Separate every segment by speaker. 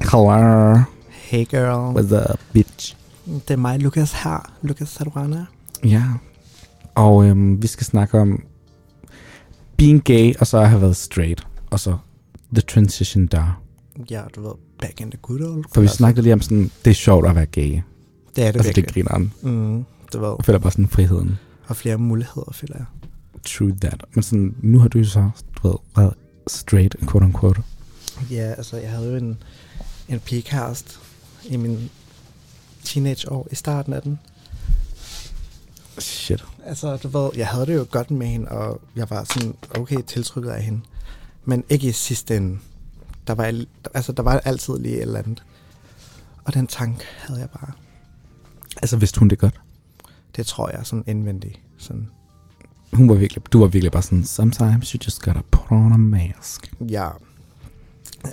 Speaker 1: Hello,
Speaker 2: Hey girl,
Speaker 1: what's up, bitch?
Speaker 2: det er mig, Lukas her. Lukas Saruana.
Speaker 1: Ja. Og øhm, vi skal snakke om being gay, og så at have været straight. Og så the transition der.
Speaker 2: Ja, du ved, back in the good old
Speaker 1: For vi
Speaker 2: days.
Speaker 1: snakkede lige om sådan, det er sjovt at være gay.
Speaker 2: Det er det
Speaker 1: Altså,
Speaker 2: altså,
Speaker 1: det
Speaker 2: virkelig.
Speaker 1: griner han.
Speaker 2: Mm, du ved,
Speaker 1: Jeg føler bare sådan friheden.
Speaker 2: og flere muligheder, føler jeg.
Speaker 1: True that. Men sådan, nu har du jo så, du ved, været straight, quote unquote.
Speaker 2: Ja, altså, jeg havde jo en, en pigekæreste i min teenageår, i starten af den.
Speaker 1: Shit.
Speaker 2: Altså, du ved, jeg havde det jo godt med hende, og jeg var sådan okay tiltrykket af hende. Men ikke i sidste ende. Der var, al- altså, der var altid lige et eller andet. Og den tanke havde jeg bare.
Speaker 1: Altså, vidste hun det godt?
Speaker 2: Det tror jeg sådan indvendigt. Sådan,
Speaker 1: Hun var virkelig, du var virkelig bare sådan, sometimes you just gotta put on a mask.
Speaker 2: ja.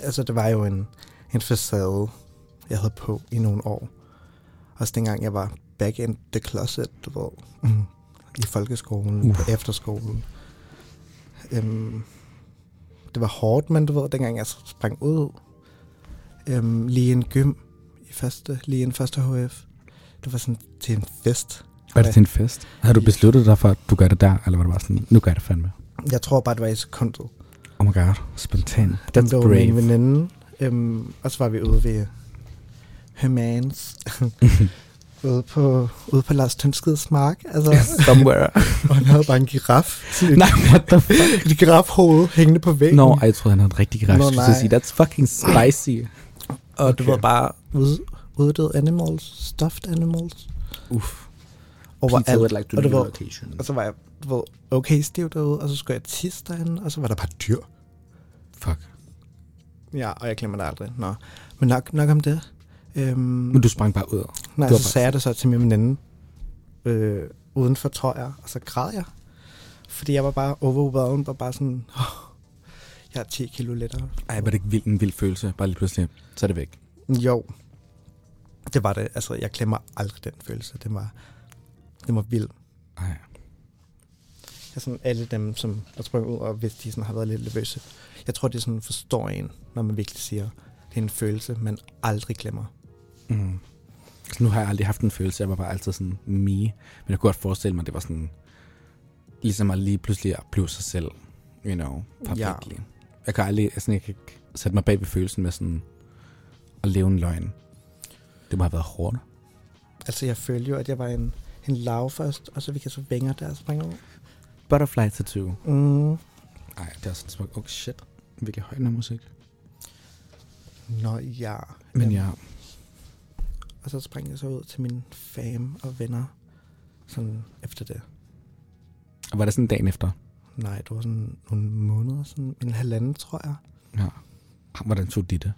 Speaker 2: Altså, det var jo en, en facade, jeg havde på i nogle år. Også dengang jeg var back in the closet, du ved. Mm. I folkeskolen,
Speaker 1: Uff.
Speaker 2: på efterskolen. Øhm, det var hårdt, men du ved, dengang jeg sprang ud. Øhm, lige en gym i første, lige en første HF. Det var sådan til en fest.
Speaker 1: Var det til en fest? Havde du besluttet dig for, at du gør det der, eller var det bare sådan, nu gør jeg det fandme?
Speaker 2: Jeg tror bare, det var i sekundet.
Speaker 1: Oh my god, spontan.
Speaker 2: That's
Speaker 1: That's
Speaker 2: det var brave. min
Speaker 1: brave.
Speaker 2: veninde. Øhm, og så var vi ude ved Hermans. ude på, ude på Lars Tønskeds mark. Altså,
Speaker 1: Somewhere.
Speaker 2: og han havde bare en giraf. Sådan et,
Speaker 1: nej, what the fuck?
Speaker 2: et girafhoved hængende på væggen.
Speaker 1: Nå, ej, jeg troede, han havde en rigtig græs.
Speaker 2: Nå,
Speaker 1: No,
Speaker 2: nej.
Speaker 1: sige, that's fucking spicy.
Speaker 2: og det
Speaker 1: okay.
Speaker 2: var bare ude, uddøde animals, stuffed animals.
Speaker 1: Uff.
Speaker 2: Overalt. og, det var,
Speaker 1: location.
Speaker 2: og så var jeg du ved, okay stiv derude, og så skulle jeg tisse derinde, og så var der bare dyr.
Speaker 1: Fuck.
Speaker 2: Ja, og jeg glemmer det aldrig. Nå. Men nok, nok om det. Øhm,
Speaker 1: Men du sprang bare ud.
Speaker 2: Nej,
Speaker 1: Du
Speaker 2: så
Speaker 1: har bare-
Speaker 2: sagde jeg det så til min veninde øh, udenfor, tror jeg, og så græd jeg. Fordi jeg var bare overwhelmed og bare sådan, oh, jeg er 10 kilo lettere.
Speaker 1: Ej, var det ikke vild, en vild følelse? Bare lige pludselig, så er det væk.
Speaker 2: Jo, det var det. Altså, jeg glemmer aldrig den følelse. Det var, det var vildt.
Speaker 1: Ej.
Speaker 2: Jeg sådan, alle dem, som er sprunget ud, og hvis de sådan, har været lidt nervøse. Jeg tror, det er sådan forstår en, når man virkelig siger, det er en følelse, man aldrig glemmer.
Speaker 1: Mm. Så nu har jeg aldrig haft en følelse, jeg var bare altid sådan me. Men jeg kunne godt forestille mig, det var sådan, ligesom at lige pludselig at blive sig selv, you know, publicly. Ja. Jeg kan aldrig, altså, jeg, sådan, jeg kan ikke sætte mig bag ved følelsen med sådan, at leve en løgn. Det må have været hårdt.
Speaker 2: Altså, jeg følte jo, at jeg var en, en lav først, og så vi kan så vinger der og springe ud.
Speaker 1: Butterfly Tattoo.
Speaker 2: Mm.
Speaker 1: Ej, det er sådan smukt. Oh shit, hvilket højt noget musik.
Speaker 2: Nå ja.
Speaker 1: Men
Speaker 2: Øhm,
Speaker 1: ja,
Speaker 2: Og så sprang jeg så ud til min fam og venner. Sådan efter det.
Speaker 1: var det sådan dagen efter?
Speaker 2: Nej, det var sådan nogle måneder, sådan en halvanden, tror jeg.
Speaker 1: Ja. Hvordan tog de det?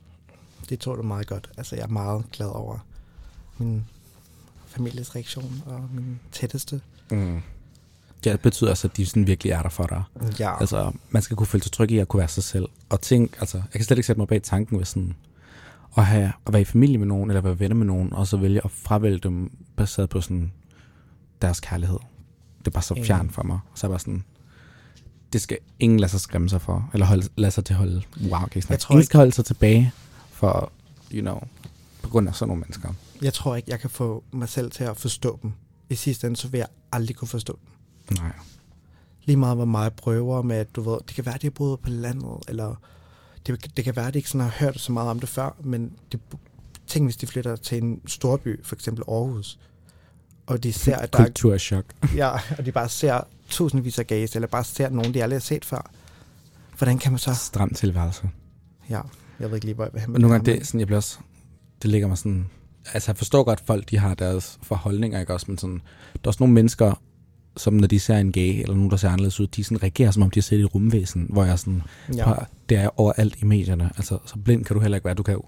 Speaker 2: Det tog det meget godt. Altså, jeg er meget glad over min families reaktion og min tætteste.
Speaker 1: Mm. Det betyder altså, at de sådan virkelig er der for dig.
Speaker 2: Ja, altså,
Speaker 1: Altså, man skal kunne føle sig tryg i at kunne være sig selv. Og tænk, altså, jeg kan slet ikke sætte mig bag tanken ved sådan at, have, at være i familie med nogen, eller være venner med nogen, og så vælge at fravælge dem baseret på sådan deres kærlighed. Det er bare så
Speaker 2: Enig.
Speaker 1: fjern for mig. Så er jeg bare sådan, det skal ingen lade sig skræmme sig for, eller holde, lade sig til at holde. Wow, kan jeg, jeg
Speaker 2: tror
Speaker 1: tror ingen
Speaker 2: ikke-
Speaker 1: skal holde sig tilbage for, you know, på grund af sådan nogle mennesker.
Speaker 2: jeg tror ikke, jeg kan få mig selv til at forstå dem. I sidste ende, så vil jeg aldrig kunne forstå dem.
Speaker 1: Nej.
Speaker 2: Lige meget, hvor meget jeg prøver med, at du ved, det kan være, at jeg boede på landet, eller det, det kan være, at jeg ikke sådan har hørt så meget om det før, men det, tænk, hvis de flytter til en storby, for eksempel Aarhus, og de ser, at der er,
Speaker 1: Kulturschok.
Speaker 2: ja, og de bare ser tusindvis af gays, eller bare ser nogen, de aldrig har set før. Hvordan kan man så...
Speaker 1: Stram tilværelse.
Speaker 2: Ja, jeg ved ikke lige, hvor jeg vil hen
Speaker 1: Men
Speaker 2: med
Speaker 1: nogle gange,
Speaker 2: her,
Speaker 1: det, er sådan, jeg bliver også, det ligger mig sådan... Altså, jeg forstår godt, folk de har deres forholdninger, ikke også? Men sådan, der er også nogle mennesker, som når de ser en gay, eller nogen, der ser anderledes ud, de sådan reagerer, som om de har set et rumvæsen, hvor jeg er sådan,
Speaker 2: men-
Speaker 1: ja. det er overalt i medierne. Altså, så blind kan du heller ikke være, du kan jo.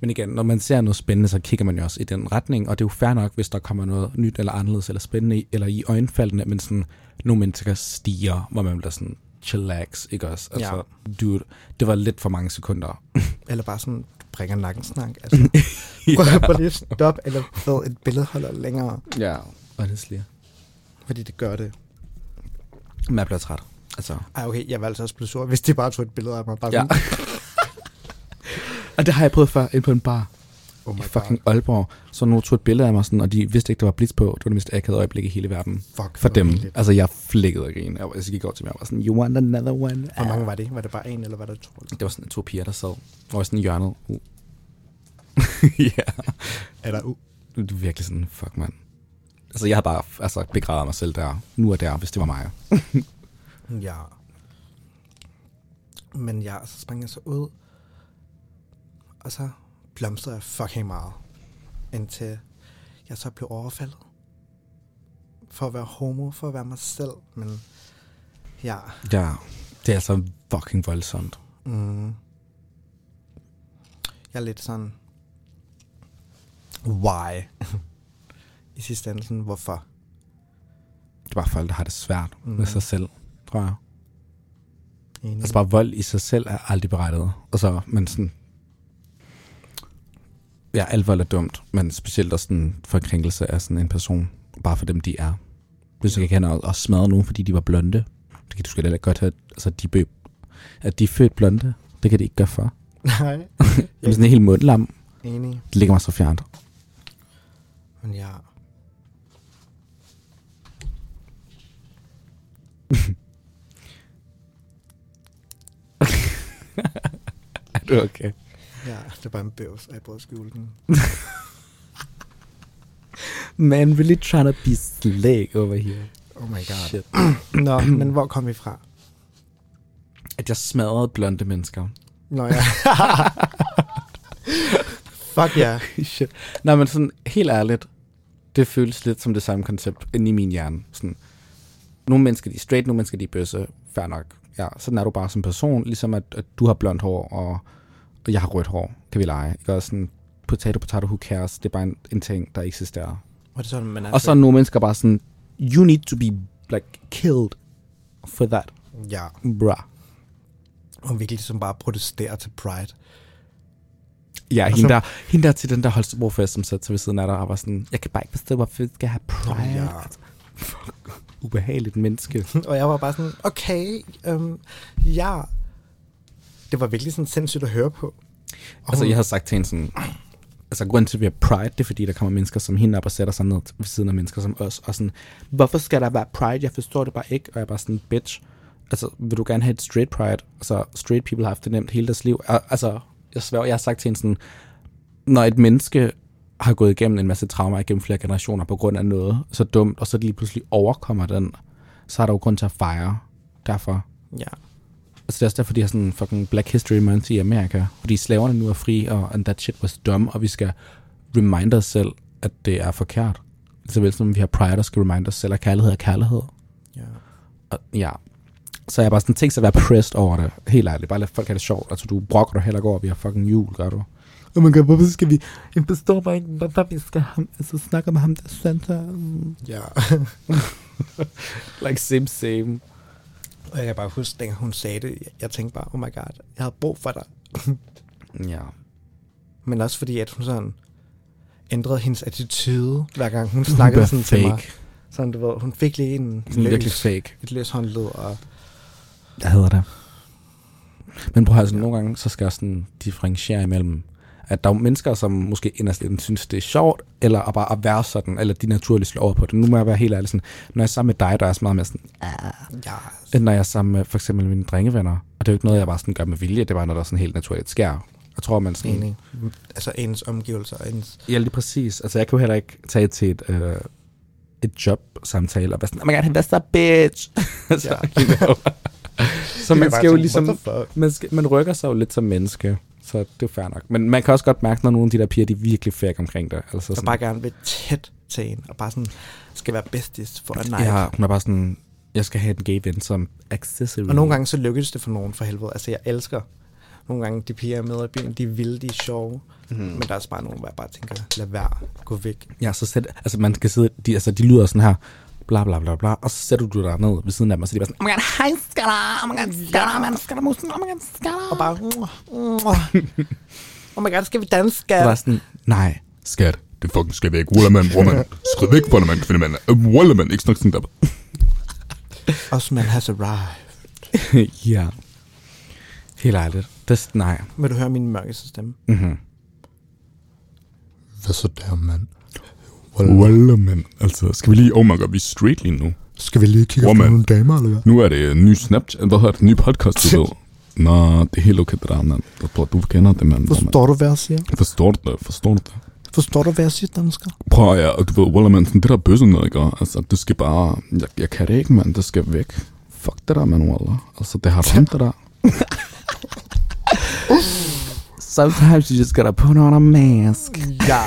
Speaker 1: Men igen, når man ser noget spændende, så kigger man jo også i den retning, og det er jo fair nok, hvis der kommer noget nyt eller anderledes eller spændende, i- eller i øjenfaldene, men sådan, nogle mennesker stiger, hvor man bliver sådan, chillax, ikke også? Altså, ja. dude, det var lidt for mange sekunder.
Speaker 2: Eller bare sådan, du bringer nakken snak. Altså, prøv, prøv lige at stoppe, eller ved, et billede holder længere,
Speaker 1: Ja, honestly.
Speaker 2: fordi det gør det.
Speaker 1: Men jeg bliver træt. Altså,
Speaker 2: Ej, okay, jeg var altså også blevet sur, hvis de bare tog et billede af mig. Bare
Speaker 1: Ja.
Speaker 2: sådan,
Speaker 1: Og det har jeg prøvet før, ind på en bar
Speaker 2: Oh
Speaker 1: oh i
Speaker 2: my
Speaker 1: fucking God. Aalborg. Så nogen tog et billede af mig, sådan, og de vidste ikke, der var blitz på. Det var det mest akavede øjeblik i hele verden.
Speaker 2: Fuck,
Speaker 1: For
Speaker 2: det var
Speaker 1: dem.
Speaker 2: pinligt.
Speaker 1: Altså, jeg flækkede og grin. Jeg, var- jeg gik over til mig og var sådan, you want another one?
Speaker 2: Hvor mange var det? Var det bare en, eller var der to?
Speaker 1: Det var sådan to piger, der sad over i sådan hjørnet. Uh. ja.
Speaker 2: Eller u?
Speaker 1: Det er virkelig sådan, fuck mand. Altså, jeg har bare altså, begravet mig selv der. Nu er der, hvis det var mig.
Speaker 2: Ja. Men ja, så sprang jeg så ud, og så blomstrede jeg fucking meget, indtil jeg så blev overfaldet. For at være homo, for at være mig selv, men ja.
Speaker 1: Ja. Det er altså fucking voldsomt.
Speaker 2: Mm. Jeg er lidt sådan, why? I sidste ende sådan, hvorfor?
Speaker 1: Det er bare folk, der har det svært mm. med
Speaker 2: Mhm.
Speaker 1: sig selv, tror jeg.
Speaker 2: Enig.
Speaker 1: Altså bare vold i sig selv er aldrig berettiget. Og så, men sådan... Ja, alt vold er dumt, men specielt også sådan for krænkelse af sådan en person. Bare for dem, de er. Hvis du ikke kan og smadre nogen, fordi de var blonde, det kan du sgu da heller ikke godt have. Altså, de bøb, at de er født blonde, det kan de ikke gøre for.
Speaker 2: Nej.
Speaker 1: Jeg er sådan helt mundlam.
Speaker 2: Enig.
Speaker 1: Det ligger mig så fjernt.
Speaker 2: Men ja.
Speaker 1: Er du okay?
Speaker 2: Ja, det var en bøvs, og jeg prøvede at skjule den.
Speaker 1: Man really trying to be slick over here.
Speaker 2: Oh my god.
Speaker 1: Shit.
Speaker 2: Nå, men hvor kom vi fra?
Speaker 1: At jeg smadrede blonde mennesker.
Speaker 2: Nå ja. Fuck ja. Yeah.
Speaker 1: Shit. Nej, men sådan helt ærligt, det føles lidt som det samme koncept inde i min hjerne. Sådan, nogle mennesker, de er straight, nogle mennesker, de er bøsse. Fair nok. Ja, sådan er du bare som person, ligesom at, at du har blondt hår, og, og jeg har rødt hår. Kan vi lege? Ikke også sådan, potato, potato, who cares? Det er bare en, en ting, der eksisterer.
Speaker 2: Og det er sådan, man altså- er
Speaker 1: Og så er nogle mennesker bare sådan, you need to be like killed for that,
Speaker 2: født. Ja,
Speaker 1: bruh.
Speaker 2: og virkelig som bare protesterer til Pride.
Speaker 1: Ja,
Speaker 2: Og
Speaker 1: hende,
Speaker 2: så-
Speaker 1: der, hende der til den der Holstebro-fest, som satte sig ved siden af dig og var sådan, jeg kan bare ikke forstå, hvorfor vi skal have pride.
Speaker 2: ja.
Speaker 1: Altså, fuck, ubehageligt menneske.
Speaker 2: Hm, Og jeg var bare sådan, okay, øhm, ja. Det var virkelig sådan sindssygt at høre på. Og
Speaker 1: altså,
Speaker 2: hun-
Speaker 1: jeg havde sagt til hende sådan, altså grunden til, at vi har pride, det er fordi, der kommer mennesker som hende op og sætter sig ned ved siden af mennesker som os, og sådan, hvorfor skal der være pride? Jeg forstår det bare ikke, og jeg er bare sådan, bitch, altså, vil du gerne have et straight pride? Altså, straight people har haft det nemt hele deres liv. Og, altså, jeg sværger, jeg har sagt til hende sådan, når et menneske har gået igennem en masse traumer igennem flere generationer på grund af noget så dumt, og så lige pludselig overkommer den, så er der jo grund til at fejre. Derfor
Speaker 2: Ja.
Speaker 1: Altså det er også derfor, de har sådan fucking Black History Month i Amerika. Fordi slaverne nu er fri, og and that shit was dumb, og vi skal remind os selv, at det er forkert. Såvel som vi har pride, og skal remind os selv, at kærlighed er kærlighed.
Speaker 2: ja.
Speaker 1: Og, ja. Så jeg er bare sådan tænkt sig at være pressed over det. Helt ærligt. Bare lad folk have det sjovt. Altså du brokker dig heller ikke over, at vi har fucking jul, gør du? Oh my god, hvorfor skal vi... Jeg forstår bare ikke, hvorfor vi skal ham, altså, snakke om ham der Santa. Mm.
Speaker 2: Ja.
Speaker 1: Like same same.
Speaker 2: og jeg kan bare huske, dengang hun sagde det, jeg, jeg tænkte bare, oh my god, jeg havde brug for dig.
Speaker 1: Ja.
Speaker 2: Men også fordi, at hun sådan ændrede hendes attitude, hver gang hun snakkede sådan til mig. Sådan, du ved, hun fik lige en
Speaker 1: Sådan virkelig
Speaker 2: løs,
Speaker 1: fake.
Speaker 2: et løs håndled, og
Speaker 1: Jeg hader det. Men prøv at høre, altså, nogle gange, så skal jeg sådan differentiere imellem, at der er jo mennesker, som måske inderst inden synes, det er sjovt, eller at bare at være sådan, eller de naturligt slår over på det. Nu må jeg være helt ærlig, sådan, når jeg er sammen med dig, der er jeg så meget mere sådan,
Speaker 2: ja,
Speaker 1: end når jeg er sammen med for eksempel mine drengevenner. Og det er jo ikke noget, jeg bare sådan gør med vilje, det er bare noget, der sådan helt naturligt sker. Jeg tror, man sådan...
Speaker 2: enig. Altså ens omgivelser, og ens...
Speaker 1: Ja, lige præcis. Altså, jeg kan jo heller ikke tage til et, øh, et job-samtale og være sådan, oh my god, hvad så, bitch? Altså, så,
Speaker 2: Ja.
Speaker 1: you know. så
Speaker 2: Det er
Speaker 1: man
Speaker 2: bare
Speaker 1: skal jo
Speaker 2: sådan,
Speaker 1: ligesom...
Speaker 2: what the fuck?
Speaker 1: man, skal, man rykker sig jo lidt som menneske, så det er jo fair nok. Men man kan også godt mærke, når nogle af de der piger, de er virkelig fake omkring dig. Altså
Speaker 2: Der
Speaker 1: sådan,
Speaker 2: bare gerne vil tæt til en, og bare sådan skal være besties for at nej. Ja.
Speaker 1: ja, hun er bare sådan, jeg skal have en gay ven som accessory.
Speaker 2: Og nogle gange så lykkes det for nogen for helvede. Altså jeg elsker nogle gange de piger jeg er med i byen, de er vilde, de er sjove. Mm. Men der er også bare nogen, hvor jeg bare tænker, lad være, gå væk.
Speaker 1: Ja, så sæt, altså man skal sidde, de, altså de lyder sådan her, bla bla bla bla, og så sætter du dig ned ved siden af dem, og så er de bare sådan, oh my god, hej skatter, oh my god, skatter, man, skatter, musen, oh my god, skatter.
Speaker 2: Og bare, oh my god, skal vi danse,
Speaker 1: Og bare
Speaker 2: skat?
Speaker 1: sådan, nej, skat,
Speaker 3: Det fucking skal væk. Wallerman, woman. Skrid væk, Wallerman, kvindemand. Øh, Wallerman, ikke snak sådan der.
Speaker 2: Osman has arrived.
Speaker 1: ja. Helt ærligt. Det, nej.
Speaker 2: Vil du høre min mørkeste stemme?
Speaker 1: Mm-hmm.
Speaker 4: Hvad så der, mand?
Speaker 3: Wallah, mand. Altså, skal vi lige... Oh my god, vi er street lige nu.
Speaker 4: Skal vi lige kigge
Speaker 3: Hvor,
Speaker 4: på
Speaker 3: mand?
Speaker 4: nogle damer, eller hvad?
Speaker 3: Nu er det en ny Snapchat. øh, Hvad hedder det? En ny podcast, du ved. Nå, det er helt okay, det der, mand. Jeg tror, du kender det, mand. Hvor, mand.
Speaker 2: Forstår du, hvad jeg siger?
Speaker 3: Forstår du det? Forstår du det?
Speaker 2: Forstår du, hvad jeg siger, dansker?
Speaker 3: Prøv at, ja, du ved, Wallah, mand. sådan Det der bøsse noget, ikke? Altså, du skal bare... Jeg, jeg kan det ikke, mand. Det skal væk. Fuck det der, mand, Wallah. Altså, det har ramt det der.
Speaker 1: Sometimes you just gotta put on a mask.
Speaker 2: Ja.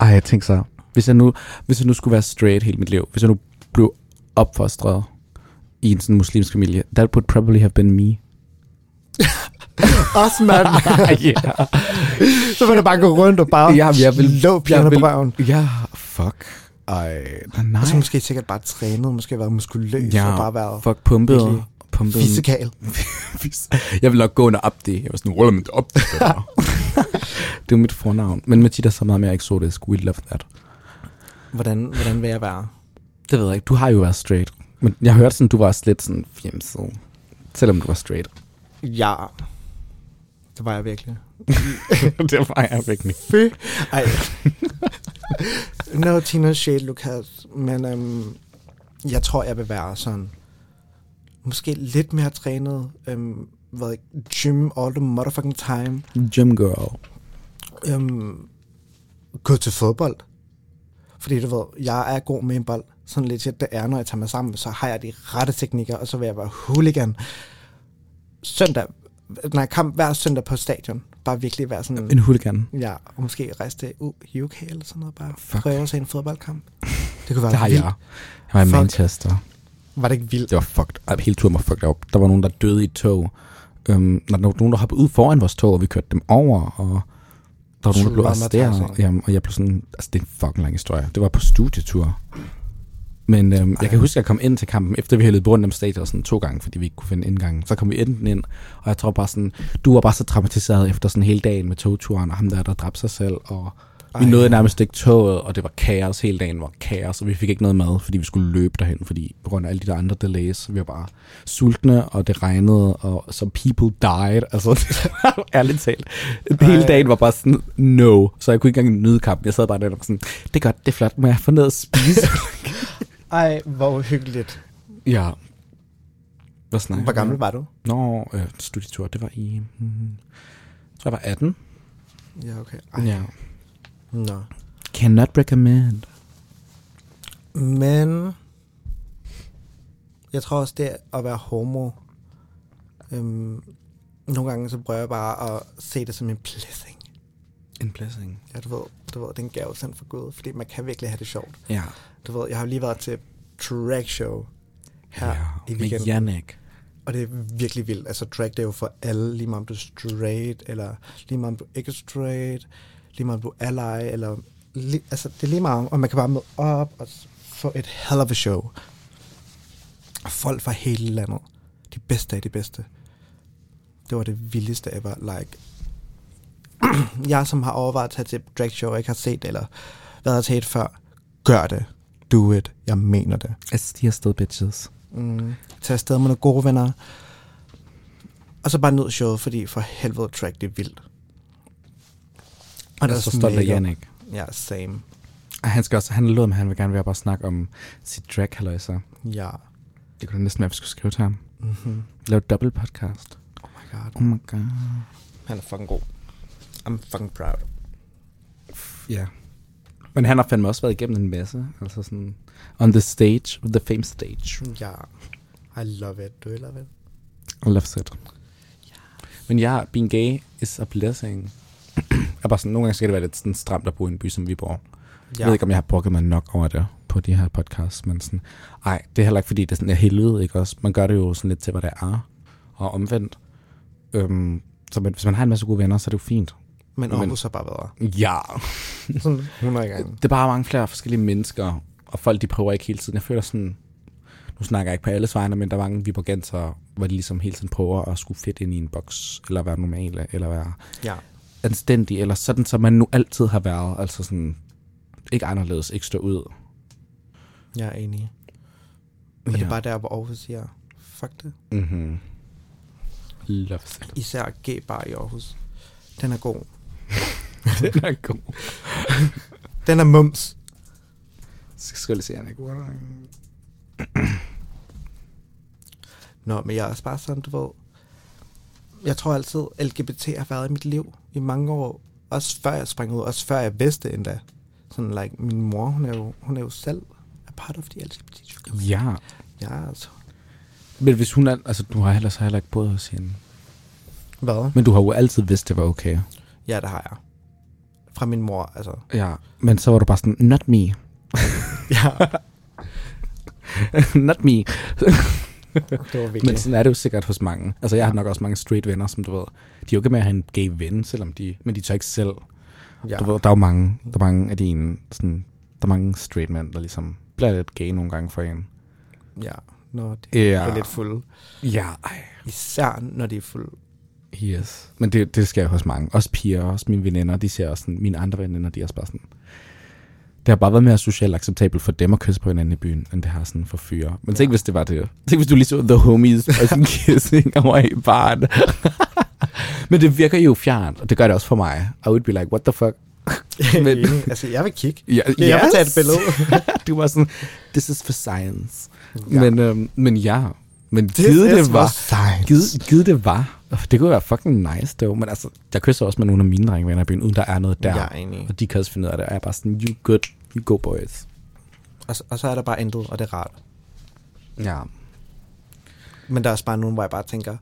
Speaker 1: Ej, jeg tænker så, hvis jeg, nu, hvis jeg nu skulle være straight hele mit liv, hvis jeg nu blev opfostret i en sådan muslimsk familie, that would probably have been me.
Speaker 2: Også mand.
Speaker 1: yeah.
Speaker 2: Så vil du bare gå rundt og bare
Speaker 1: Ja, men jeg vil-
Speaker 2: lå pigerne
Speaker 1: jeg vil-
Speaker 2: på røven.
Speaker 1: Ja, fuck. Ej, Ah, nej.
Speaker 2: Og så måske sikkert bare trænet, måske været muskuløs ja. og bare været
Speaker 1: fuck pumpet.
Speaker 2: virkelig
Speaker 1: pumpet
Speaker 2: fysikal.
Speaker 1: jeg vil nok gå under op det. Jeg var sådan,
Speaker 3: Wallah, mand, op det der.
Speaker 1: det er jo mit fornavn. Men Mathilde er så meget mere eksotisk. We love that.
Speaker 2: Hvordan, hvordan vil jeg være?
Speaker 1: Det ved jeg ikke. Du har jo været straight. Men jeg hørte sådan, du var også lidt sådan fjemset. Selvom du var straight.
Speaker 2: Ja. Det var jeg virkelig.
Speaker 1: det var jeg virkelig.
Speaker 2: Fy. Ej. no Tina shade, Lukas. Men øhm, jeg tror, jeg vil være sådan... Måske lidt mere trænet. Øhm, været i gym all the motherfucking time.
Speaker 1: Gym girl.
Speaker 2: Øhm, gå til fodbold. Fordi du ved, jeg er god med en bold. Sådan lidt shit, det er, når jeg tager mig sammen, så har jeg de rette teknikker, og så vil jeg være hooligan. Søndag, nej, kamp hver søndag på stadion. Bare virkelig være sådan...
Speaker 1: En hooligan.
Speaker 2: Ja, og måske rejse til U- UK eller sådan noget, bare
Speaker 1: Fuck.
Speaker 2: Fuck. prøve at se en fodboldkamp. Det kunne være
Speaker 1: Det har
Speaker 2: vildt.
Speaker 1: jeg. Jeg var i
Speaker 2: Fuck.
Speaker 1: Manchester.
Speaker 2: Var det ikke vildt?
Speaker 1: Det var fucked up. Hele turen var fucked up. Der var nogen, der døde i et tog. Øhm, når der var nogen, der hoppede ud foran vores tog, og vi kørte dem over, og der var nogen, der blev
Speaker 2: Traumatisering.
Speaker 1: arresteret. Jamen, og jeg blev sådan, altså det er en fucking lang historie. Det var på studietur. Men øhm, jeg kan huske, at jeg kom ind til kampen, efter vi havde løbet rundt om stadion sådan to gange, fordi vi ikke kunne finde indgangen. Så kom vi enten ind, og jeg tror bare sådan, du var bare så traumatiseret efter sådan hele dagen med togturen, og ham der, der dræbte sig selv, og vi
Speaker 2: Ej.
Speaker 1: nåede nærmest ikke toget, og det var kaos. Hele dagen var kaos, og vi fik ikke noget mad, fordi vi skulle løbe derhen, fordi på grund af alle de der andre delays, så vi var bare sultne, og det regnede, og så people died. Altså, ærligt talt. Hele
Speaker 2: Ej.
Speaker 1: dagen var bare sådan, no. Så jeg kunne ikke engang nyde kampen. Jeg sad bare der og var sådan, det er godt, det er flot, må jeg få noget at spise?
Speaker 2: Ej, hvor hyggeligt.
Speaker 1: ja. Hvad snakker
Speaker 2: Hvor
Speaker 1: jeg om?
Speaker 2: gammel var du?
Speaker 1: Nå, øh, studietur, det var i... Hmm, jeg tror, jeg var 18.
Speaker 2: Ja, okay. Ej.
Speaker 1: Ja.
Speaker 2: Nå.
Speaker 1: Cannot recommend.
Speaker 2: Men jeg tror også, det at være homo, øhm, nogle gange så prøver jeg bare at se det som en blessing.
Speaker 1: En blessing.
Speaker 2: Ja, du ved, du ved, det er en gave sendt fra Gud, fordi man kan virkelig have det sjovt.
Speaker 1: Ja.
Speaker 2: Du ved, jeg har lige været til drag show her
Speaker 1: ja.
Speaker 2: i
Speaker 1: Med
Speaker 2: weekenden.
Speaker 1: Jannik.
Speaker 2: Og det er virkelig vildt. Altså, drag, det er jo for alle. Lige meget om du er straight, eller lige meget om du ikke er straight, lige meget om du er ally, eller... Li- altså, det er lige meget om, og man kan bare møde op og s- få et hell of a show. Og Folk fra hele landet. De bedste af de bedste. Det var det vildeste ever. Like, jeg som har overvejet at tage til drag show, og ikke har set det, eller været til et før, gør det. Do it. Jeg mener det.
Speaker 1: Altså, de er still bitches.
Speaker 2: Mm. Tag afsted med nogle gode venner. Og så bare ned showet, fordi for helvede track, det er vildt. Og
Speaker 1: Jeg er så stolt af
Speaker 2: makeup.
Speaker 1: Jannik.
Speaker 2: Ja, same.
Speaker 1: Og han skal også, han lød med, at han vil gerne være bare snakke om sit drag så
Speaker 2: Ja.
Speaker 1: Det kunne da næsten være, at vi skulle skrive til ham.
Speaker 2: Mm-hmm.
Speaker 1: Lave et dobbelt podcast.
Speaker 2: Oh my god.
Speaker 1: Oh my god.
Speaker 2: Han er fucking god. I'm fucking proud.
Speaker 1: Ja. Men han har fandme også været igennem en masse. Altså sådan, on the stage, the fame stage.
Speaker 2: Ja. I love it. Do you love it?
Speaker 1: I love it. Men ja, being gay is a blessing. jeg er bare sådan, nogle gange skal det være lidt sådan stramt at bo i en by som Viborg. Jeg ved ikke, om jeg har brokket mig nok over det på de her podcasts, men sådan, ej, det er heller ikke, fordi det er sådan et helvede, ikke også? Man gør det jo sådan lidt til, hvad der er, og omvendt. Øhm, så men, hvis man har en masse gode venner, så er det jo fint.
Speaker 2: Men
Speaker 1: Men-
Speaker 2: Aarhus har bare været
Speaker 1: Ja.
Speaker 2: sådan 100 gange.
Speaker 1: Det er bare mange flere forskellige mennesker, og folk, de prøver ikke hele tiden. Jeg føler sådan, nu snakker jeg ikke på alles vegne, men der er mange viborgenser, hvor de ligesom hele tiden prøver at skulle fedt ind i en boks, eller være normale, eller være
Speaker 2: Ja.
Speaker 1: anstændig, eller sådan, som man nu altid har været. Altså sådan, ikke anderledes, ikke stå ud.
Speaker 2: Jeg er enig. Og det
Speaker 1: Ja.
Speaker 2: er bare der, hvor Aarhus siger, fuck det.
Speaker 1: Mm-hmm. Love Center.
Speaker 2: Især G-bar i Aarhus. Den er god.
Speaker 1: Den er god.
Speaker 2: Den er mums.
Speaker 1: Så skal jeg lige se, han er god. eller ej.
Speaker 2: Nå, men jeg er også bare sådan, du ved... Jeg tror altid, LGBT har været i mit liv i mange år. Også før jeg sprang ud, også før jeg vidste endda. Sådan, like, min mor, hun er jo, hun er jo selv a part of the LGBT.
Speaker 1: Ja.
Speaker 2: Ja, altså.
Speaker 1: Men hvis hun er, altså du har heller så heller ikke boet hos hende.
Speaker 2: Hvad?
Speaker 1: Men du har jo altid vidst, det var okay.
Speaker 2: Ja, det har jeg. Fra min mor, altså.
Speaker 1: Ja. Men så var du bare sådan, not me.
Speaker 2: Ja,
Speaker 1: not me.
Speaker 2: det var
Speaker 1: Men sådan er det jo sikkert hos mange. Altså jeg har nok også mange straight venner, som du ved, de er jo ikke med at have en gay ven, selvom de, men de tør ikke selv.
Speaker 2: ja.
Speaker 1: Du ved, der er jo mange, der er mange af dine, sådan, der er mange straight mænd, der ligesom bliver lidt gay nogle gange for en.
Speaker 2: ja. Nå, det
Speaker 1: Ja.
Speaker 2: er lidt fulde.
Speaker 1: Ja, ej.
Speaker 2: Især når de er fulde.
Speaker 1: Yes. Men det, det sker hos mange. Også piger, også mine veninder, de ser også sådan, mine andre veninder, de er også bare sådan... Det har bare været mere socialt acceptabelt for dem at kysse på hinanden i byen, end det har sådan for fyre. Men tænk, hvis det var det. Tænk, hvis du lige så the homies og sådan kissing over i baren. Men det virker jo fjernt, og det gør det også for mig. I would be like, what the fuck? Men-
Speaker 2: Enig. altså, jeg vil kigge.
Speaker 1: Ja,
Speaker 2: Ja, Jeg vil tage et billede.
Speaker 1: du var sådan, this is for science.
Speaker 2: Ja.
Speaker 1: Ja. Men, øhm, men ja, men givet det var...
Speaker 2: sejt.
Speaker 1: Gid, gid det var. Det kunne være fucking nice, det var. Men altså, jeg kysser også med nogle af mine drengevenner i byen, uden der er noget der.
Speaker 2: Jeg er enig.
Speaker 1: Og de kan også finde ud af det. Og jeg er bare sådan, you good, you go boys.
Speaker 2: Og, så- og så er der bare intet, og det er rart.
Speaker 1: Ja.
Speaker 2: Men der er også bare nogen, hvor jeg bare tænker,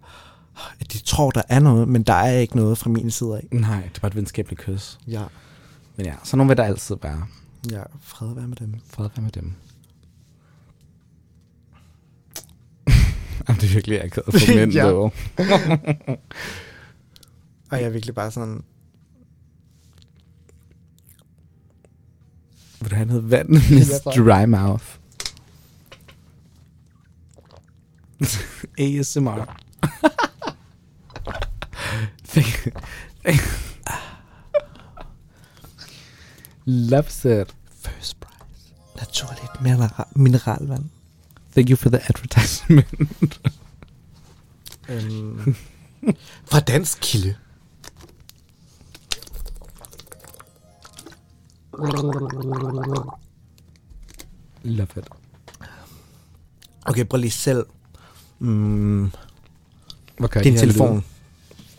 Speaker 2: at de tror, der er noget, men der er ikke noget fra min side af.
Speaker 1: Nej, det var et venskabeligt kys.
Speaker 2: Ja,
Speaker 1: Men ja, så nogle vil der altid være.
Speaker 2: ja fred være med dem.
Speaker 1: Fred være med dem. Jamen, det er virkelig akavet for mænd,
Speaker 2: Ja.
Speaker 1: ja.
Speaker 2: Og jeg er virkelig bare sådan,
Speaker 1: Vil du have noget vand? Miss
Speaker 2: tak.
Speaker 1: Dry Mouth. ASMR. Love set.
Speaker 2: first prize. Naturligt mineral- mineralvand.
Speaker 1: Thank you for the advertisement.
Speaker 2: Øhm. fra dansk kilde.
Speaker 1: Love it.
Speaker 2: Okay, prøv lige selv. Mm,
Speaker 1: Okay,
Speaker 2: din telefon.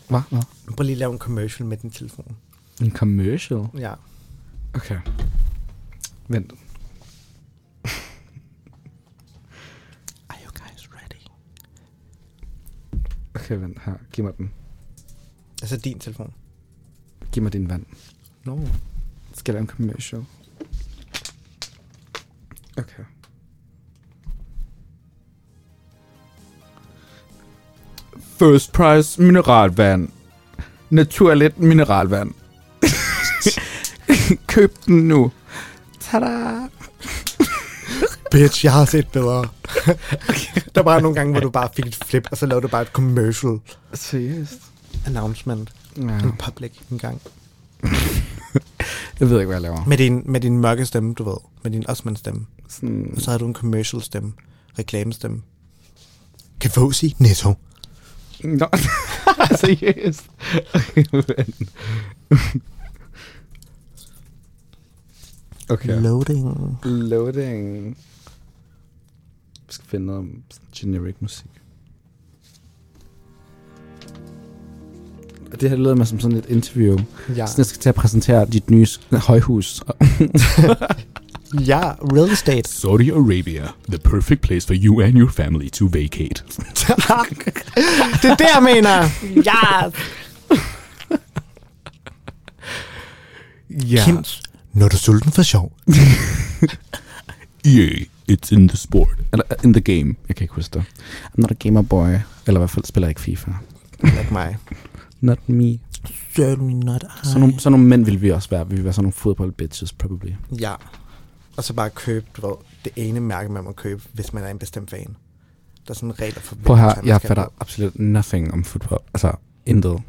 Speaker 1: Hvad? Hvad?
Speaker 2: Prøv lige at lave en commercial med din telefon.
Speaker 1: En commercial?
Speaker 2: Ja.
Speaker 1: Okay. Vent.
Speaker 2: Are you guys ready?
Speaker 1: Okay, vent her. Giv mig den.
Speaker 2: Altså din telefon.
Speaker 1: Giv mig din vand.
Speaker 2: No.
Speaker 1: Skal jeg lave en commercial? Okay. First prize mineralvand. Naturligt mineralvand. Køb den nu. Tada!
Speaker 2: Bitch, jeg har set bedre. Der var nogle gange, hvor du bare fik et flip, og så lavede du bare et commercial
Speaker 1: Seriøst?
Speaker 2: announcement.
Speaker 1: Ja.
Speaker 2: En public en gang.
Speaker 1: Jeg ved ikke, hvad jeg laver.
Speaker 2: Med din, med din mørke stemme, du ved. Med din osman stemme.
Speaker 1: Sådan,
Speaker 2: Og så havde du en commercial stemme. Reklamestemme. Kan få sig netto.
Speaker 1: Nå, seriøst. Vent. okay.
Speaker 2: Loading.
Speaker 1: Loading. Vi skal finde noget om sådan generic musik. Og Det her lyder mig som sådan et interview.
Speaker 2: Ja.
Speaker 1: Sådan, jeg skal til at præsentere dit nye s- højhus.
Speaker 2: ja, real estate.
Speaker 3: Saudi Arabia, the perfect place for you and your family to vacate.
Speaker 2: det er det, jeg mener. Ja.
Speaker 1: ja.
Speaker 2: Kims, når du er sulten for sjov.
Speaker 3: Yeah, E it's in the sport.
Speaker 1: Eller uh, in the game. Jeg kan ikke huske det. I'm not a gamer boy. Eller i hvert fald spiller jeg ikke FIFA.
Speaker 2: Like mig.
Speaker 1: Not me.
Speaker 2: Certainly not I.
Speaker 1: Sådan nogle, sådan nogle mænd ville vi også være. Vi ville være sådan nogle fodbold bitches, probably.
Speaker 2: Ja. Og så bare købe, du ved, det ene mærke, man må købe, hvis man er en bestemt fan. Der er sådan regler for...
Speaker 1: Prøv
Speaker 2: hvilken
Speaker 1: her,
Speaker 2: tøj, man
Speaker 1: jeg
Speaker 2: skal
Speaker 1: fatter
Speaker 2: have
Speaker 1: absolut nothing om fodbold. Altså, intet.
Speaker 2: på.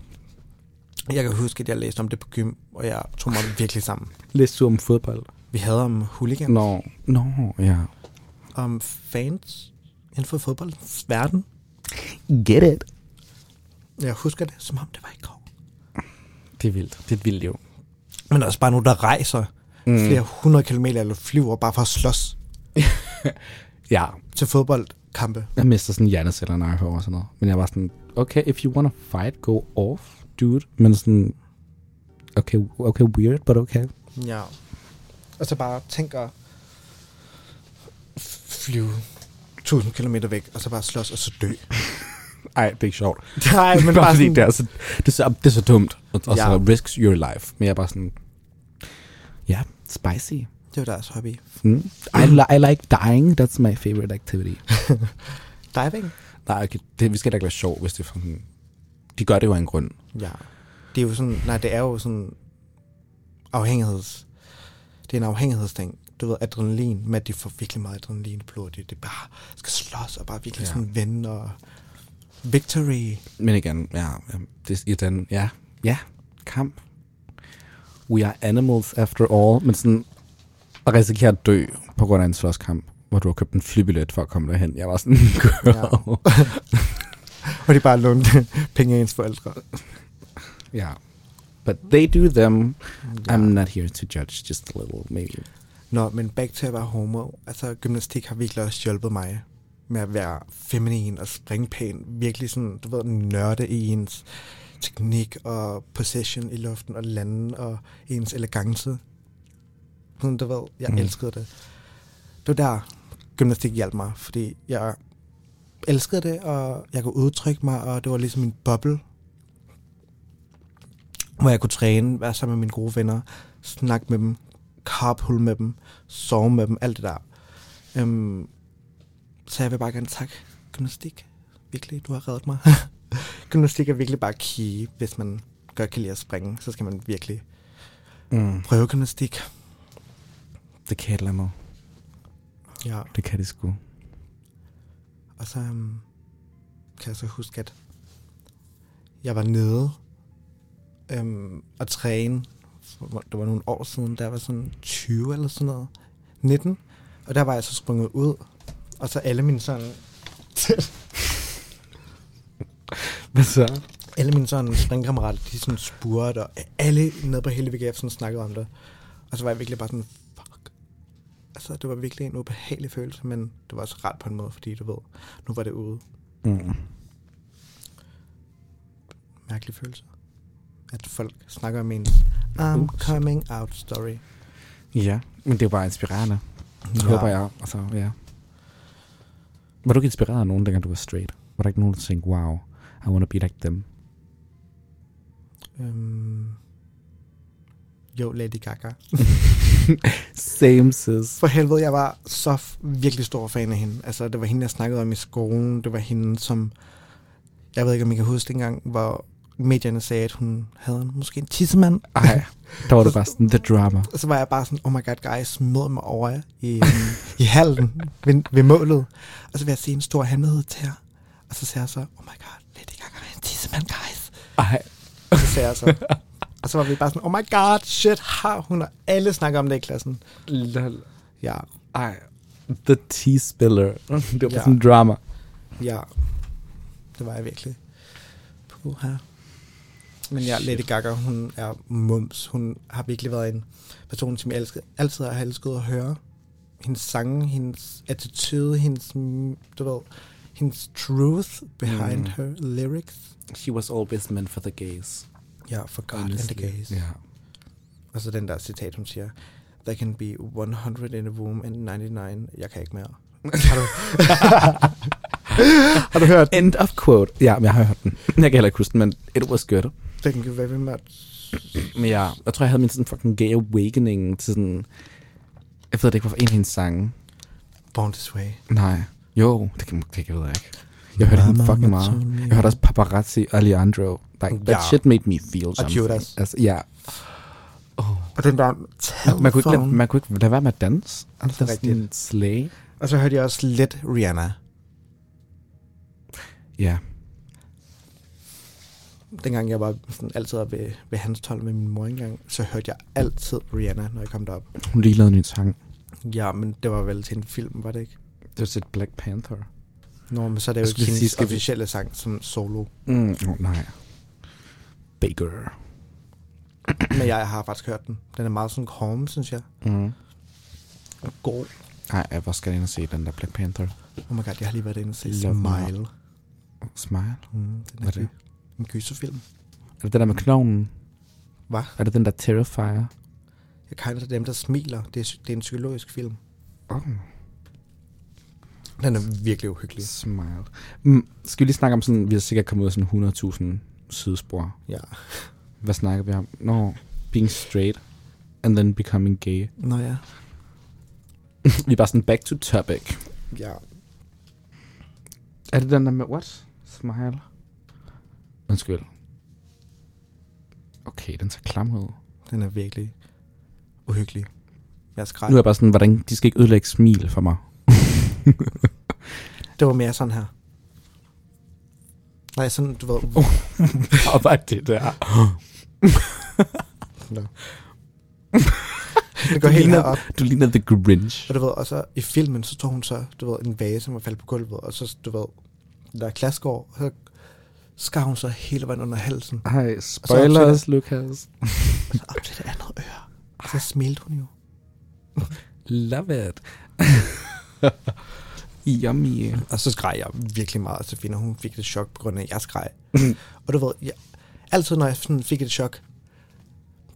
Speaker 2: Jeg kan huske, at jeg læste om det på gym, og jeg tog mig virkelig sammen.
Speaker 1: Læste du om fodbold?
Speaker 2: Vi havde om hooligan, no.
Speaker 1: Nå, no. no, ja.
Speaker 2: om fans inden for fodboldens verden.
Speaker 1: Get it.
Speaker 2: Jeg husker det, som om det var i går.
Speaker 1: Det er vildt. Det er et vildt liv.
Speaker 2: Men der er også bare nogen, der rejser mm. flere hundrede kilometer eller flyver bare for at slås
Speaker 1: Ja,
Speaker 2: til fodboldkampe.
Speaker 1: jeg mister sådan hjerneceller, når jeg hører sådan noget. Men jeg var sådan, okay, if you wanna fight, go off, dude. Men sådan, okay, okay, weird, but okay.
Speaker 2: Ja. Og så bare tænk at f- flyve 1000 km væk, og så bare slås og så dø.
Speaker 1: Ej, det er ikke sjovt.
Speaker 2: Nej, men
Speaker 1: bare
Speaker 2: bare
Speaker 1: fordi
Speaker 2: sådan,
Speaker 1: det er, så, det, er så, det er så dumt, og, og
Speaker 2: Ja.
Speaker 1: så risks your life. Men jeg er bare sådan, ja, yeah, spicy.
Speaker 2: det var deres hobby.
Speaker 1: Mm. I, li- I like dying, that's my favorite activity.
Speaker 2: Diving?
Speaker 1: Nej, okay, det, vi skal da ikke være sjov, hvis det er sådan... De gør det jo af en grund.
Speaker 2: Ja. Det er jo sådan, nej, det er jo sådan afhængigheds... Det er en afhængighedsting. Du ved, adrenalin, med at de får virkelig meget adrenalin i blodet. Det er bare skal slås og bare virkelig
Speaker 1: Ja.
Speaker 2: ja. sådan vende og... Victory.
Speaker 1: Men igen, ja, ja, det, i den, ja, ja, kamp. We are animals after all. Men sådan at risikere at dø på grund af en slåskamp, hvor du har købt en flybillet for at komme derhen. Jeg var sådan, girl.
Speaker 2: Og de bare lånte penge af ens forældre.
Speaker 1: Ja. yeah. But they do them. I'm not here to judge, just a little, maybe.
Speaker 2: Nå, men back til at være homo. Altså, gymnastik har virkelig også hjulpet mig med at være feminin og springe pæn. Virkelig sådan, du ved, nørde i ens teknik og position i luften og landen og ens elegance. Sådan, du ved, jeg
Speaker 1: Mm.
Speaker 2: mm. elskede det. Det var der, gymnastik hjalp mig, fordi jeg elskede det, og jeg kunne udtrykke mig, og det var ligesom min boble, hvor jeg kunne træne, være sammen med mine gode venner, snakke med dem, carpool med dem, sove med dem, alt det der. Øhm, så jeg vil bare gerne takke gymnastik. Virkelig, du har reddet mig. gymnastik er virkelig bare key, hvis man godt kan lide at springe, så skal man virkelig
Speaker 1: Mm.
Speaker 2: prøve gymnastik.
Speaker 1: Det kan et eller andet.
Speaker 2: Ja.
Speaker 1: Det kan det sgu.
Speaker 2: Og så øhm, kan jeg så huske, at jeg var nede øhm, og træne. for- Det var nogle år siden, der var sådan 20 eller sådan noget. 19. Og der var jeg så sprunget ud. Og så alle mine sådan,
Speaker 1: Hvad så?
Speaker 2: alle mine sådan springkammerater, de sådan spurgte, og alle nede på hele VGF sådan snakkede om det. Og så var jeg virkelig bare sådan, fuck. Altså, det var virkelig en ubehagelig følelse, men det var også ret på en måde, fordi du ved, nu var det ude.
Speaker 1: Mm.
Speaker 2: mærkelig følelse. At folk snakker om en I'm
Speaker 1: Uh,
Speaker 2: uh, coming out story.
Speaker 1: Ja, men det er jo bare inspirerende. Det ja.
Speaker 2: Ja.
Speaker 1: håber jeg. Altså, ja. Var du ikke inspireret af nogen, dengang du var straight? Var der ikke nogen, der tænkte, wow, I wanna be like them?
Speaker 2: Øhm, jo, Lady Gaga.
Speaker 1: Same sis.
Speaker 2: For helvede, jeg var så f- virkelig stor fan af hende. Altså, det var hende, jeg snakkede om i skolen. Det var hende, som... Jeg ved ikke, om I kan huske dengang, hvor medierne sagde, at hun havde en, måske en tissemand.
Speaker 1: Ej, der var du bare sådan, the drama.
Speaker 2: Og så var jeg bare sådan, oh my god, guys, mød mig over i, øhm, i hallen ved, ved målet. Og så vil jeg sige en stor hemmelighed til jer. Og så sagde jeg så, oh my god, Lady Gaga er en tissemand, guys.
Speaker 1: Ej,
Speaker 2: Og så sagde jeg så. Og så var vi bare sådan, oh my god, shit, har hun, og alle snakker om det i klassen.
Speaker 1: lol.
Speaker 2: Ja,
Speaker 1: Ej, the tea spiller. det var ja.
Speaker 2: Ja.
Speaker 1: sådan drama.
Speaker 2: ja, det var jeg virkelig. Puha. Men ja, Lady Gaga, hun er mums. Hun har virkelig været en person, som jeg elsker, altid har elsket at høre. Hendes sange, hendes attitude, hendes, mm, du ved, hendes truth behind
Speaker 1: Mm.
Speaker 2: mm. her lyrics.
Speaker 1: She was always meant for the gays.
Speaker 2: Ja, for God and the gays.
Speaker 1: Ja.
Speaker 2: Og så den der citat, hun siger, There can be 100 in a womb and 99. Jeg kan ikke mere. Har du, har du hørt?
Speaker 1: End of quote. Ja, men jeg har hørt den. Jeg kan heller ikke huske den, men it was good.
Speaker 2: There can be very much.
Speaker 1: Men jeg, jeg tror, jeg havde min sådan fucking gay awakening til sådan... Jeg ved det ikke, hvorfor en af hendes sange.
Speaker 2: Born this way.
Speaker 1: Nej. Jo, det kan det ved jeg ikke. Jeg hørte hende
Speaker 2: Mama
Speaker 1: fucking
Speaker 2: told
Speaker 1: meget.
Speaker 2: me.
Speaker 1: Jeg hørte også Paparazzi og Leandro. Like, that
Speaker 2: Ja.
Speaker 1: shit made me feel something.
Speaker 2: Judas.
Speaker 1: Altså, ja.
Speaker 2: Og den der
Speaker 1: Man kunne, ikke lade,
Speaker 2: telephone.
Speaker 1: man kunne ikke lade være med at danse. Altså,
Speaker 2: Det er
Speaker 1: sådan slay.
Speaker 2: Og så hørte jeg også lidt Rihanna.
Speaker 1: Ja.
Speaker 2: Dengang jeg var sådan altid oppe ved, ved hans tolv med min mor engang, så hørte jeg altid Rihanna, når jeg kom derop.
Speaker 1: Hun lige lavede en ny sang.
Speaker 2: Ja, men det var vel til en film, var det ikke?
Speaker 1: Det var til Black Panther.
Speaker 2: Nå, men så er det
Speaker 1: Jeg
Speaker 2: jo
Speaker 1: skulle
Speaker 2: ikke
Speaker 1: lige sige,
Speaker 2: hendes
Speaker 1: Altså, skal vi-
Speaker 2: officielle sang som solo.
Speaker 1: Mm, oh, nej. Baker.
Speaker 2: Men jeg har faktisk hørt den. Den er meget sådan calm, synes jeg.
Speaker 1: Mm.
Speaker 2: Og God.
Speaker 1: Ej, jeg var skal ind og se den der Black Panther.
Speaker 2: Oh my god, jeg har lige været inde og se
Speaker 1: Love me.
Speaker 2: Smile.
Speaker 1: Smile.
Speaker 2: Mm, den
Speaker 1: Hvad er
Speaker 2: er
Speaker 1: det?
Speaker 2: det? En gyserfilm.
Speaker 1: Er det den der med klovnen?
Speaker 2: Hvad?
Speaker 1: Er det den der Terrifier?
Speaker 2: Jeg kan af dem, der smiler. Det er, det er en psykologisk film.
Speaker 1: Oh.
Speaker 2: Den er virkelig uhyggelig.
Speaker 1: Smile. Mm, skal vi lige snakke om sådan, vi har sikkert kommet ud af sådan 100.000 sidespor.
Speaker 2: Ja.
Speaker 1: Hvad snakker vi om? Nå, no, being straight and then becoming gay.
Speaker 2: Nå ja.
Speaker 1: vi er bare sådan back to topic.
Speaker 2: Ja.
Speaker 1: Er det den der med, what? Smile? Undskyld. Okay, den ser klam ud.
Speaker 2: Den er virkelig uhyggelig. Jeg skreg.
Speaker 1: Nu er jeg bare sådan, hvordan, de skal ikke ødelægge smil for mig.
Speaker 2: Det var mere sådan her. Nej, sådan, du ved...
Speaker 1: Og bare det der.
Speaker 2: Nå. det går helt
Speaker 1: ligner-
Speaker 2: herop.
Speaker 1: Du ligner The Grinch.
Speaker 2: Og du ved, og så i filmen, så tog hun så, du ved, en vase, som var faldet på gulvet, og så, du ved, der er Glasgow, og så skar hun så hele vejen under halsen,
Speaker 1: Ej,
Speaker 2: spoilers,
Speaker 1: spoilers, Lukas.
Speaker 2: og så op til det andet øre. Og så smilte hun jo.
Speaker 1: Love it. Yummy.
Speaker 2: Og så skreg jeg virkelig meget, og så finder hun fik et chok på grund af, at jeg skreg. og du ved, jeg, altid når jeg sådan fik et chok,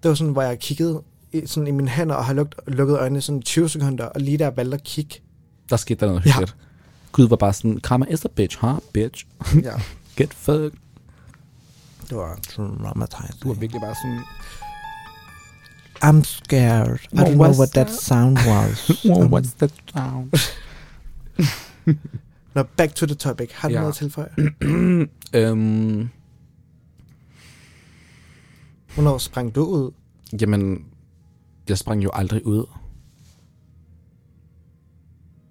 Speaker 2: det var sådan, hvor jeg kiggede i, sådan i mine hænder og har lukket, lukket øjnene sådan 20 sekunder, og lige der jeg valgte at kigge.
Speaker 1: Der skete der noget
Speaker 2: Ja.
Speaker 1: hyggeligt. Gud var bare sådan, karma is a bitch, huh, bitch?
Speaker 2: Ja,
Speaker 1: Get fucked.
Speaker 2: det var traumatized.
Speaker 1: Du er virkelig bare sådan,
Speaker 2: I'm scared. I
Speaker 1: What
Speaker 2: don't know
Speaker 1: was
Speaker 2: what that
Speaker 1: that?
Speaker 2: sound was. Um,
Speaker 1: wow, what's that sound?
Speaker 2: Nå, back to the topic. Har du
Speaker 1: Ja.
Speaker 2: noget at tilføje?
Speaker 1: øhm,
Speaker 2: Hvornår sprang du ud?
Speaker 1: jamen, jeg sprang jo aldrig ud.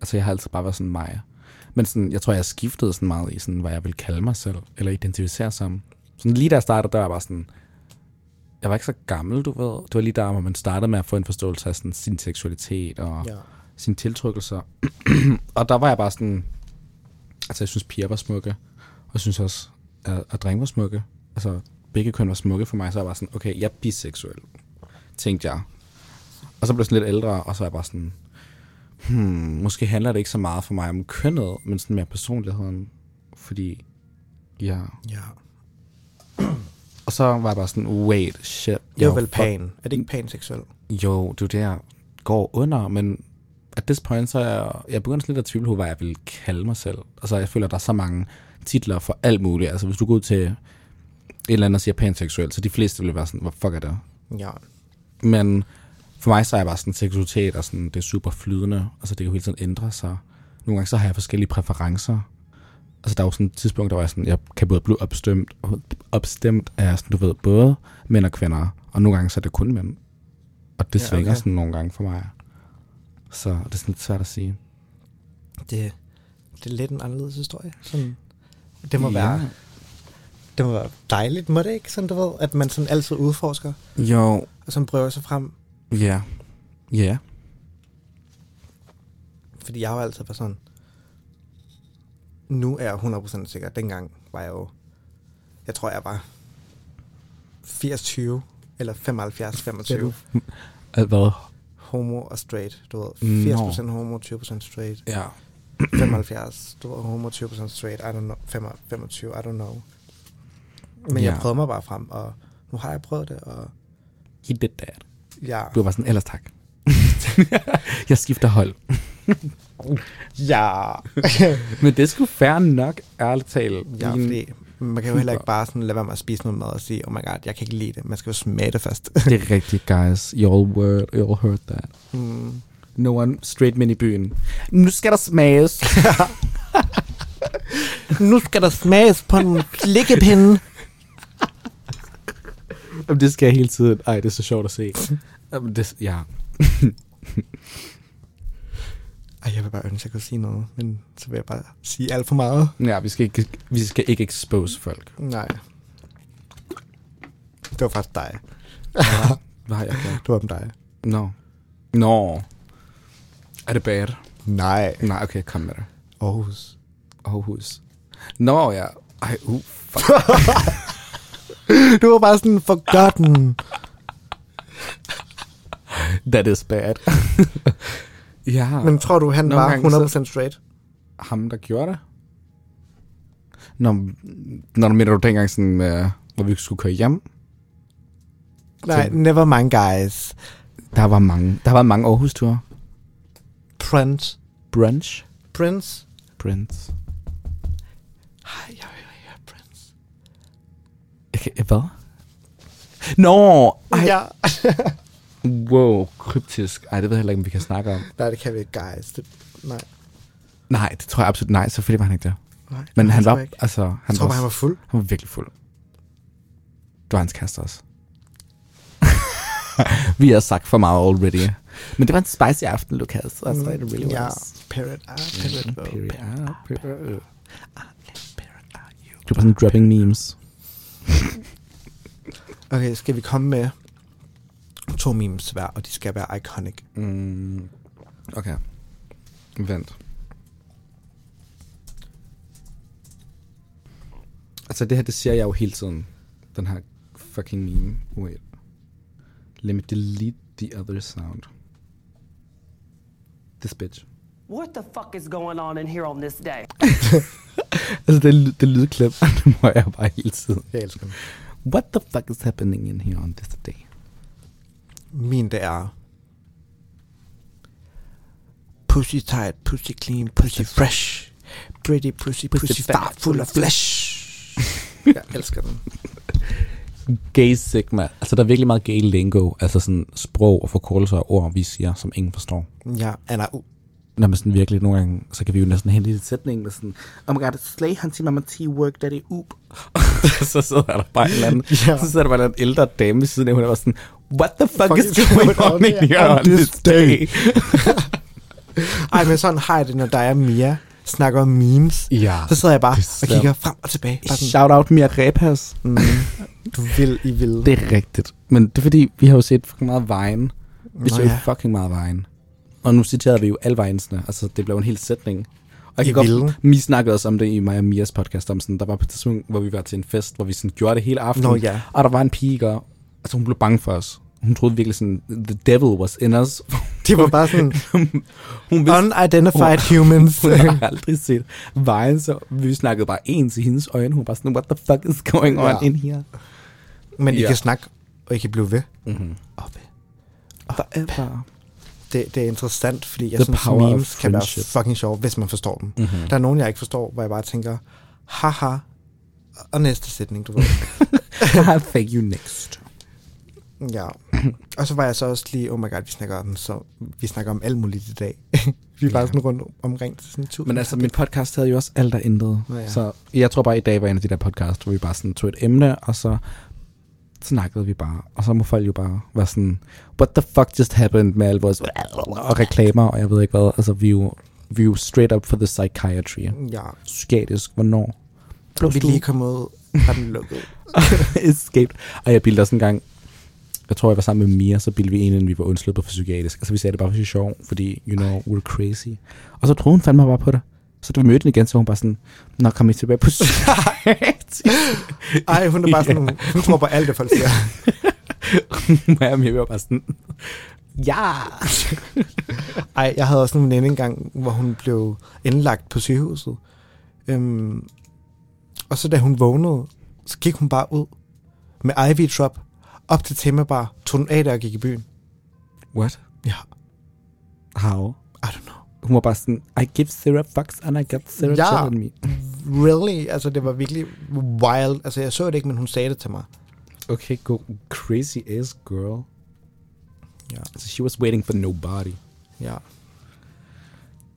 Speaker 1: Altså, jeg har altid bare været sådan mig. Men sådan, jeg tror, jeg skiftede sådan meget i, sådan, hvad jeg vil kalde mig selv, eller identificere som. Sådan lige da jeg startede, der var jeg bare sådan, jeg var ikke så gammel, du ved. Det var lige der, hvor man startede med at få en forståelse af sådan, sin seksualitet og
Speaker 2: Ja.
Speaker 1: sine tiltrykkelser. og der var jeg bare sådan... Altså, jeg synes, piger var smukke. Og jeg synes også, at, at drenge var smukke. Altså, begge køn var smukke for mig. Så jeg var sådan, okay, jeg er biseksuel. Tænkte jeg. Og så blev jeg sådan lidt ældre, og så var jeg bare sådan... Hmm, måske handler det ikke så meget for mig om kønnet, men sådan mere personligheden. Fordi... Ja.
Speaker 2: ja.
Speaker 1: Og så var jeg bare sådan, wait, shit.
Speaker 2: Det er jo
Speaker 1: jeg
Speaker 2: vel pan. Er det ikke panseksuel?
Speaker 1: jo, det er jo det, jeg går under, men at this point, så er jeg, jeg begynder sådan lidt at tvivle på, hvad jeg vil kalde mig selv. Altså, jeg føler, der er så mange titler for alt muligt. Altså, hvis du går ud til et eller andet og siger panseksuel, så de fleste vil være sådan, hvor fuck er det?
Speaker 2: Ja.
Speaker 1: Men for mig, så er jeg bare sådan, seksualitet og sådan, det er super flydende. Altså, det kan jo hele tiden ændre sig. Nogle gange, så har jeg forskellige præferencer. Altså, der er jo sådan et tidspunkt, der var jeg sådan, jeg kan både blive opstemt, opstemt af, sådan, du ved, både mænd og kvinder. Og nogle gange, så er det kun mænd. Og det
Speaker 2: Ja,
Speaker 1: ja, svinger
Speaker 2: okay.
Speaker 1: sådan nogle gange for mig. Så det er sådan lidt svært at sige.
Speaker 2: Det, det er lidt en anderledes historie. Sådan, det må være det må være dejligt, må det ikke? Sådan, du ved, at man sådan altid udforsker,
Speaker 1: Jo,
Speaker 2: og sådan prøver sig frem.
Speaker 1: ja. Ja.
Speaker 2: Fordi jeg har jo altid været sådan, nu er jeg 100% sikker. Dengang var jeg jo, jeg tror, jeg var 80-20, eller 75-25.
Speaker 1: Alt Hvad?
Speaker 2: Homo og straight, du ved.
Speaker 1: Nå.
Speaker 2: 80% homo, 20% straight.
Speaker 1: Ja.
Speaker 2: 75, du ved, homo 20% straight, I don't know, 5 25, I don't know. Men
Speaker 1: Ja.
Speaker 2: jeg prøvede mig bare frem, og nu har jeg prøvet det, og
Speaker 1: He did that.
Speaker 2: ja,
Speaker 1: Du var bare sådan, ellers tak. jeg skifter hold.
Speaker 2: ja,
Speaker 1: Men det skulle fair nok, ærligt talt.
Speaker 2: ja
Speaker 1: Min-
Speaker 2: fordi man kan jo heller ikke bare sådan lade være med at spise noget mad og sige, oh my god, jeg kan ikke lide det, man skal jo smage det først.
Speaker 1: Det er rigtigt, guys. You all, word, you all heard that.
Speaker 2: mm.
Speaker 1: No one straight men i byen. Nu skal der smages.
Speaker 2: Nu skal der smages på en klikkepinde.
Speaker 1: Jamen, det skal jeg hele tiden. Ej, det er så sjovt at se. Jamen, det, ja.
Speaker 2: Ej, jeg vil bare ønske, at jeg kunne sige noget, men så vil jeg bare sige alt for meget.
Speaker 1: ja, vi skal ikke, vi skal ikke expose folk.
Speaker 2: Nej. Det var faktisk dig.
Speaker 1: Hvad har jeg gjort?
Speaker 2: Det var om dig.
Speaker 1: Nå. Nå. Er det bad?
Speaker 2: Nej.
Speaker 1: Nej, okay, kom med det.
Speaker 2: Aarhus.
Speaker 1: Aarhus. Nå ja. Ej, uh, fuck.
Speaker 2: Du var bare sådan forgotten.
Speaker 1: That is bad. ja, Men...
Speaker 2: Men tror du, han
Speaker 1: Nogle
Speaker 2: var
Speaker 1: gange
Speaker 2: 100% straight?
Speaker 1: ham der gjorde det. Nå, når du mener du dengang sådan, uh, hvor vi skulle køre hjem,
Speaker 2: Nej, never mind guys.
Speaker 1: der var mange, der var mange Aarhus-ture.
Speaker 2: Prince.
Speaker 1: Brunch?
Speaker 2: Prince?
Speaker 1: Brunch.
Speaker 2: Hej, jeg vil høre Prince.
Speaker 1: Okay, hvad? Nå, ej,
Speaker 2: Ja.
Speaker 1: Wow, kryptisk. Ej, det ved jeg heller ikke, om vi kan snakke om.
Speaker 2: Nej, det kan vi ikke, guys. Det, nej.
Speaker 1: Nej, det tror jeg absolut nej, selvfølgelig var han ikke der.
Speaker 2: nej.
Speaker 1: Men
Speaker 2: det
Speaker 1: han
Speaker 2: tror
Speaker 1: var,
Speaker 2: jeg ikke.
Speaker 1: altså, han,
Speaker 2: Jeg tror
Speaker 1: var,
Speaker 2: bare, han var fuld.
Speaker 1: han var virkelig fuld. Du var hans kæreste også. vi har sagt for meget already. Men det var en spicy aften, Lukas. Altså, it really
Speaker 2: Mm, ja.
Speaker 1: was.
Speaker 2: Parrot. Ah, parrot. oh,
Speaker 1: Period.
Speaker 2: parrot.
Speaker 1: Ah, period.
Speaker 2: Parrot, ah, you.
Speaker 1: Det var sådan dropping memes.
Speaker 2: Okay, skal vi komme med to memes hver, og de skal være iconic.
Speaker 1: Mm, okay. Vent. Altså det her, det siger jeg jo hele tiden. Den her fucking meme. Wait. Let me delete the other sound. This bitch.
Speaker 4: What the fuck is going on in here on this day?
Speaker 1: Altså det, det lydklip, det må jeg bare hele tiden.
Speaker 2: Jeg elsker dem.
Speaker 1: What the fuck is happening in here on this day?
Speaker 2: Min, det er... Pussy tight, pussy clean, pussy fresh. Pretty pussy, pussy, pussy fat, full of flesh. jeg elsker den.
Speaker 1: Gay sigma. Altså der er virkelig meget gay lingo. Altså sådan sprog og forkortelser og ord, vi siger, som ingen forstår.
Speaker 2: Ja, eller uh,
Speaker 1: når man sådan virkelig nogle gange, så kan vi jo næsten hente i sætningen med sådan, oh my god, slay hunting mama T-work, that is oop. så sidder der bare en eller anden,
Speaker 2: Ja.
Speaker 1: yeah. så sidder der bare en eller anden ældre dame ved siden af, hun er bare sådan, what the fuck,
Speaker 2: Fuck
Speaker 1: fuck
Speaker 2: is
Speaker 1: is going on in here on this day?
Speaker 2: Ej, men sådan har jeg det, når dig og Mia snakker om memes.
Speaker 1: Ja.
Speaker 2: Så sidder jeg bare
Speaker 1: Det er
Speaker 2: og kigger frem og tilbage. Bare sådan,
Speaker 1: Shout out Mia Repas.
Speaker 2: mm, du vil, I vil.
Speaker 1: Det er rigtigt. Men det er fordi, vi har jo set fucking meget vejen. Vi
Speaker 2: Nå
Speaker 1: så jo
Speaker 2: ja.
Speaker 1: fucking meget vejen. Og nu citerede vi jo alle vejensene. Altså, det blev en hel sætning. Og jeg
Speaker 2: I
Speaker 1: kan godt,
Speaker 2: vilden.
Speaker 1: vi snakkede også om det i mig og Mias podcast, om sådan, der var på et tidspunkt, hvor vi var til en fest, hvor vi sådan gjorde det hele aftenen.
Speaker 2: Nå ja.
Speaker 1: Og der var en pige, ikke? altså hun blev bange for os. Hun troede virkelig sådan, the devil was in us.
Speaker 2: Det var bare sådan,
Speaker 1: hun vidste,
Speaker 2: unidentified humans.
Speaker 1: hun har aldrig set vejen, så vi snakkede bare ens i hendes øjne. Hun var sådan, what the fuck is going on
Speaker 2: Ja.
Speaker 1: in here?
Speaker 2: men I
Speaker 1: Ja. Mhm.
Speaker 2: kan snakke, og I kan blive ved. Og ved.
Speaker 1: Forever.
Speaker 2: Det, det er interessant, fordi jeg
Speaker 1: The
Speaker 2: synes,
Speaker 1: power of
Speaker 2: memes kan være
Speaker 1: friendship. Mhm.
Speaker 2: fucking sjove, hvis man forstår dem. Mm-hmm. Der er nogen, jeg ikke forstår, hvor jeg bare tænker, haha, og næste sætning, du ved.
Speaker 1: Thank you next.
Speaker 2: Ja. Og så var jeg så også lige, oh my god, vi snakker om, så, vi snakker om alt muligt i dag. vi
Speaker 1: Ja.
Speaker 2: var ja. sådan rundt omkring til sådan en tur.
Speaker 1: Men altså, min podcast havde jo også alt og intet.
Speaker 2: Nå ja.
Speaker 1: Så jeg tror bare, i dag var en af de der podcast, hvor vi bare sådan tog et emne, og så snakkede vi bare. Og så må folk jo bare være sådan, what the fuck just happened med alle vores og reklamer, og jeg ved ikke hvad. Altså, vi er jo, vi er jo straight up for the psychiatry.
Speaker 2: Ja.
Speaker 1: Psykiatrisk, hvornår? Blev
Speaker 2: Vi er
Speaker 1: du
Speaker 2: lige kommet ud, har den lukket.
Speaker 1: escaped? Og jeg bildte også en gang, jeg tror, jeg var sammen med Mia, så bildte vi en, inden vi var undsluppet for psykiatrisk. Altså, vi sagde det bare for sjov, fordi, you know, we're crazy. Og så troede hun fandme bare på det. Så da vi mødte hende igen, så var hun bare sådan, Nå, kom I tilbage på psykiatrisk?
Speaker 2: Ej, hun er bare sådan, hun tror på alt, det folk siger.
Speaker 1: Maja og Mia var bare sådan, ja.
Speaker 2: Ej, jeg havde også en veninde engang, hvor hun blev indlagt på sygehuset. Øhm, og så da hun vågnede, så gik hun bare ud med Ivy Trop op til temabar, tog den af der og gik i byen.
Speaker 1: What?
Speaker 2: Ja,
Speaker 1: How?
Speaker 2: I don't know.
Speaker 1: Hun var bare sådan, I give Sarah fucks, and I got Sarah
Speaker 2: Ja.
Speaker 1: ja. on me.
Speaker 2: Really? Altså, det var virkelig wild. Altså, jeg så det ikke, men hun sagde det til mig.
Speaker 1: Okay, go crazy ass girl.
Speaker 2: Ja.
Speaker 1: So she was waiting for nobody.
Speaker 2: Ja,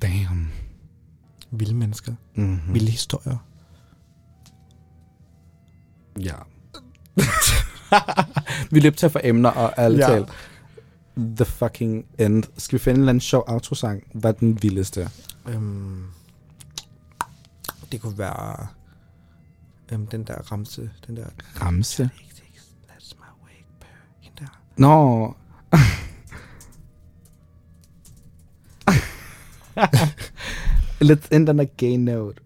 Speaker 1: Damn.
Speaker 2: vilde mennesker.
Speaker 1: Mm-hmm.
Speaker 2: Vilde historier.
Speaker 1: Ja. vi løb til for emner og alt ja.
Speaker 2: Ja.
Speaker 1: talt. The fucking end. Skal vi finde en eller anden sjov autosang? Hvad er den vildeste?
Speaker 2: Øhm, det kunne være øhm, den der ramse, den der...
Speaker 1: Ramse.
Speaker 2: That's my way, purr. Hende der.
Speaker 1: Nå. Let's end on a gay note.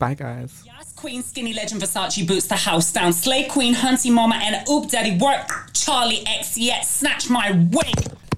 Speaker 1: Bye, guys.
Speaker 5: Yas Queen, Skinny Legend, Versace boots the house down. Slay Queen, Hunty Mama, and Oop Daddy work. Charlie X, yet snatch my wig.